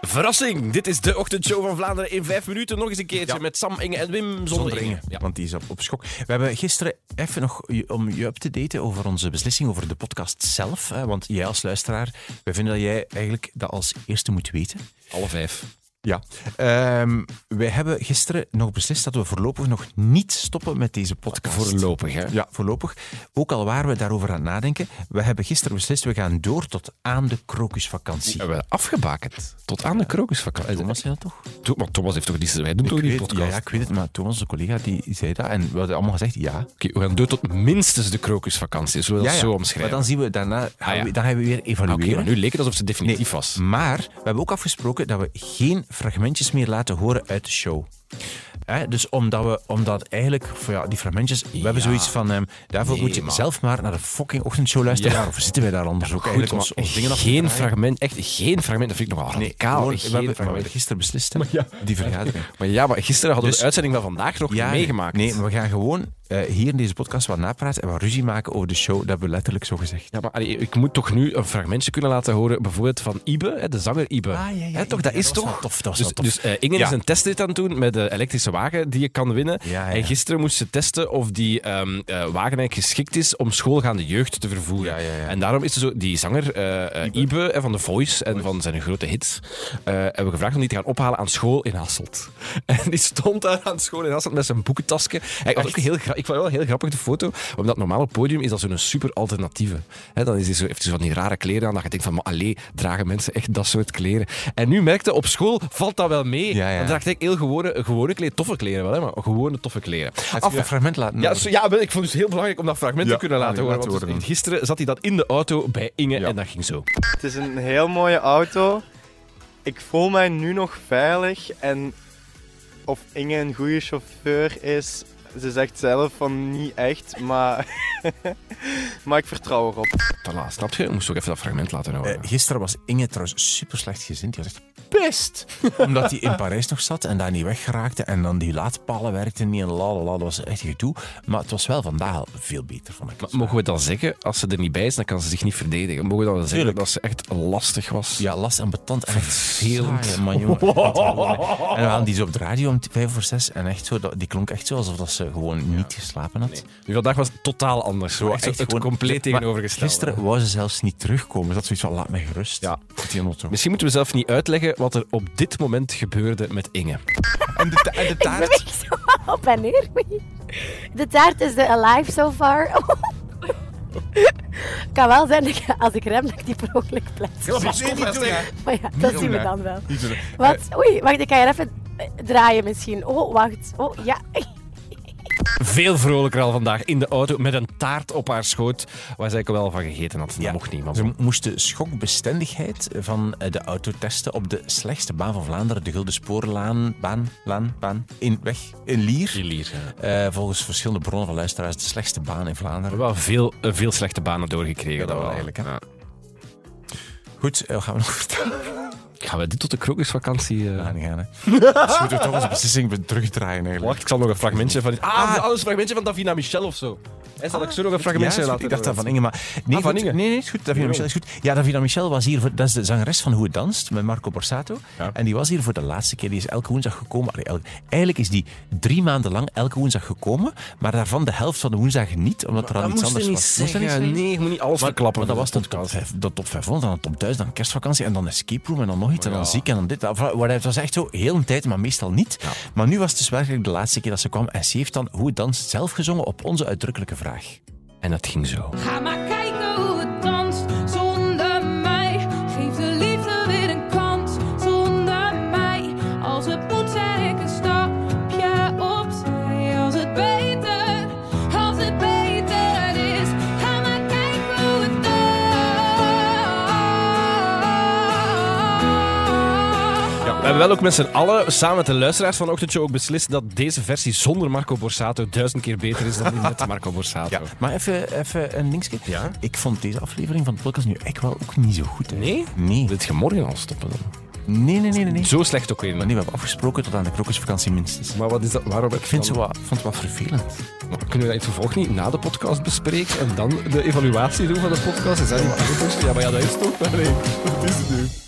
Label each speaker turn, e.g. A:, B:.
A: Verrassing! Dit is de ochtendshow van Vlaanderen in vijf minuten. Nog eens een keertje
B: Ja.
A: met Sam Inge en Wim
B: Zonder
A: Zonder
B: Inge,
A: Inge. Ja.
B: want die is op, op schok. We hebben gisteren even nog je- om je up te daten over onze beslissing over de podcast zelf. Hè, want jij als luisteraar, wij vinden dat jij eigenlijk dat als eerste moet weten.
A: Alle vijf.
B: Ja. Ehm, wij hebben gisteren nog beslist dat we voorlopig nog niet stoppen met deze podcast.
A: Voorlopig, hè?
B: Ja, voorlopig. Ook al waren we daarover aan het nadenken, we hebben gisteren beslist, we gaan door tot aan de krokusvakantie.
A: We hebben afgebakend. Tot aan de krokusvakantie.
B: Thomas zei dat toch?
A: To- Maar Thomas heeft toch niet... Wij doen toch
B: Ik
A: die
B: weet-
A: podcast?
B: Ja, ja, ik weet het, maar Thomas, onze collega, die zei dat en we hadden allemaal gezegd ja.
A: Oké, we gaan door tot minstens de krokusvakantie. Zullen we
B: Ja,
A: dat
B: ja.
A: zo
B: Maar
A: omschrijven?
B: dan zien we daarna, gaan
A: Ah, ja.
B: we, dan gaan we weer
A: Oké,
B: evalueren.
A: maar nu leek het alsof ze definitief was.
B: Maar we hebben ook afgesproken dat we geen fragmentjes meer laten horen uit de show. Hè, dus omdat we, omdat eigenlijk, voor ja, die fragmentjes, we hebben zoiets van, ehm, daarvoor
A: Nee,
B: moet je
A: man.
B: zelf maar naar de fucking ochtendshow luisteren.
A: Ja.
B: Daarvoor zitten wij daar anders ook
A: Goed,
B: eigenlijk
A: ons,
B: om ons dingen af te
A: geen
B: draaien.
A: fragment, echt geen fragment. Dat vind ik nogal
B: Nee,
A: radicaal.
B: gewoon, we
A: geen
B: hebben- maar we
A: fragment.
B: hebben gisteren beslist, hè, die vergadering.
A: Maar ja, maar gisteren hadden we
B: Dus-
A: de uitzending van vandaag nog
B: Ja,
A: niet meegemaakt.
B: Nee, maar we gaan gewoon eh, hier in deze podcast wat napraten en wat ruzie maken over de show. Dat hebben we letterlijk zo gezegd.
A: Ja, maar allee, ik moet toch nu een fragmentje kunnen laten horen, bijvoorbeeld van Ibe, hè, de zanger Ibe.
B: Ah,
A: Hè, toch, dat is
B: was wel
A: toch?
B: tof, dat was
A: Dus,
B: wel tof.
A: dus eh, Inge
B: Ja.
A: is een testrit aan het doen met de elektrische wagen die je kan winnen.
B: Ja, ja.
A: En gisteren moest ze testen of die ehm, eh, wagen eigenlijk geschikt is om schoolgaande jeugd te vervoeren.
B: Ja, ja, ja.
A: En daarom is er zo die zanger eh, eh, Ibe, hè, van The Voice en van zijn grote hits, eh, hebben we gevraagd om die te gaan ophalen aan school in Hasselt. En die stond daar aan school in Hasselt met zijn boekentasken. Hij had ook heel gra- ik vond wel een heel grappig de foto, omdat normaal op podium is dat zo'n super alternatieve. Hè, dan is hij zo, heeft hij zo van die rare kleren aan, dat je denkt van, maar allee, dragen mensen echt dat soort kleren? En nu merkte op school, valt dat wel mee.
B: Ja, ja.
A: Dan draagt hij heel gewone, gewone kleren, toffe kleren wel, hè, maar gewone toffe kleren.
B: Heb
A: Af-
B: je een fragment laten
A: ja,
B: horen?
A: zo- ja, wel, ik vond het heel belangrijk om dat fragment
B: Ja,
A: te kunnen laten
B: laten
A: horen.
B: horen
A: Want
B: dan.
A: gisteren zat hij dat in de auto bij Inge
B: Ja.
A: en dat ging zo.
C: Het is een heel mooie auto. Ik voel mij nu nog veilig en of Inge een goede chauffeur is, ze zegt zelf van niet echt, maar, maar ik vertrouw erop.
A: Voilà, snap je? Ik moest ook even dat fragment laten horen.
B: Eh, gisteren was Inge trouwens super slecht gezind. Die was echt pest. Omdat hij in Parijs nog zat en daar niet weggeraakte. En dan die laadpalen werkten niet. En lalala, dat was echt gedoe. Maar het was wel vandaag al veel beter, vond ik.
A: Maar mogen we dan zeggen, als ze er niet bij is, dan kan ze zich niet verdedigen. Mogen we dan zeggen
B: Tuurlijk.
A: dat ze echt lastig was?
B: Ja, last en betant. En echt
A: Vervelend.
B: saai, man, jongen. En we hadden die zo op de radio om t- vijf voor zes. En echt zo, dat- die klonk echt zo alsof dat ze gewoon niet geslapen had.
A: Nu, vandaag was het totaal anders. Zo, echt, zo het
B: gewoon-
A: compleet
B: Maar
A: tegenovergesteld.
B: Gisteren wou ze zelfs niet terugkomen. Ze had zoiets van, laat mij gerust.
A: Ja.
B: Zit die in auto.
A: Misschien moeten we zelf niet uitleggen wat er op dit moment gebeurde met Inge.
B: En de, ta- en de taart...
D: op en neer. De taart is de alive so far. kan wel zijn dat ik- als ik rem dat ik die per ongeluk plets. Maar ja, dat zien we dan wel. Wat? Oei, wacht, ik ga hier even eh, draaien misschien. Oh, wacht. Oh, ja.
A: Veel vrolijker al vandaag in de auto met een taart op haar schoot. Waar ze eigenlijk wel van gegeten had. Dat
B: Ja.
A: mocht niet. Maar
B: Ze moesten schokbestendigheid van eh, de auto testen op de slechtste baan van Vlaanderen, de Gulden Spoorlaan, baan, laan, baan, in, weg, in Lier.
A: Gelier, ja.
B: Eh, volgens verschillende bronnen van luisteraars de slechtste baan in Vlaanderen.
A: We hebben wel veel, eh, veel slechte banen doorgekregen.
B: Ja, dat
A: dan
B: wel eigenlijk, hè. Goed, eh, wat gaan we nog vertellen
A: Gaan we dit tot de krokusvakantie... eh,
B: aan gaan. Hè? dus moeten we toch onze beslissing weer terugdraaien eigenlijk.
A: Wacht, ik zal nog een fragmentje van... Ah, alles een fragmentje van Davina Michel of zo. En zal ik zo nog een
B: Ja, is
A: fragmentje
B: goed.
A: laten
B: ik dacht dat
A: horen?
B: van Inge, maar... Nee,
A: Ah, van
B: goed.
A: Inge.
B: nee, nee, is goed. Davina Michel is goed. Ja, Davina Michel was hier, voor, dat is de zangeres van Hoe het Danst, met Marco Borsato.
A: Ja.
B: En die was hier voor de laatste keer. Die is elke woensdag gekomen. Allee, elk- eigenlijk is die drie maanden lang elke woensdag gekomen, maar daarvan de helft van de woensdagen niet, omdat er al iets anders was. Moest dat niet zeggen?
A: Nee, ik moet niet alles verklappen.
B: Maar dat was dan top, vijf- de top 500, dan de top 1000, dan kerstvakantie en dan escape room en dan nog iets en dan ziek en dan dit. Dat- waar- Het was echt zo heel een tijd, maar meestal niet. Maar nu was het dus werkelijk de laatste keer dat ze kwam en ze heeft dan Hoe het Danst zelf gezongen op onze uitdrukkelijke vraag.
A: En dat ging zo.
E: Ga maar kijken hoe het danst zonder mij. Geef de liefde weer een kans zonder mij. Als het moet, zet ik een stapje opzij. Als het beter, als het beter is. Ga maar kijken hoe het danst.
A: Ja, we hebben wel ook met z'n allen, samen met de luisteraars van Ochtendshow, ook beslist dat deze versie zonder Marco Borsato duizend keer beter is dan die met Marco Borsato.
B: Maar even, even een dingetje.
A: Ja?
B: Ik vond deze aflevering van de podcast nu echt wel ook niet zo goed. hè.
A: Nee?
B: Nee.
A: Dit je morgen al stoppen dan.
B: Nee, nee, nee, nee. nee.
A: Zo slecht ook weer.
B: Maar nee, we hebben afgesproken tot aan de krokusvakantie minstens.
A: Maar wat is dat? Waarom heb
B: Ik vind ze wat, vond het wat vervelend.
A: Kunnen we dat in het vervolg niet na de podcast bespreken en dan de evaluatie doen van de podcast? Is dat niet Ja, maar ja, dat is toch... Nee, dat is het nu.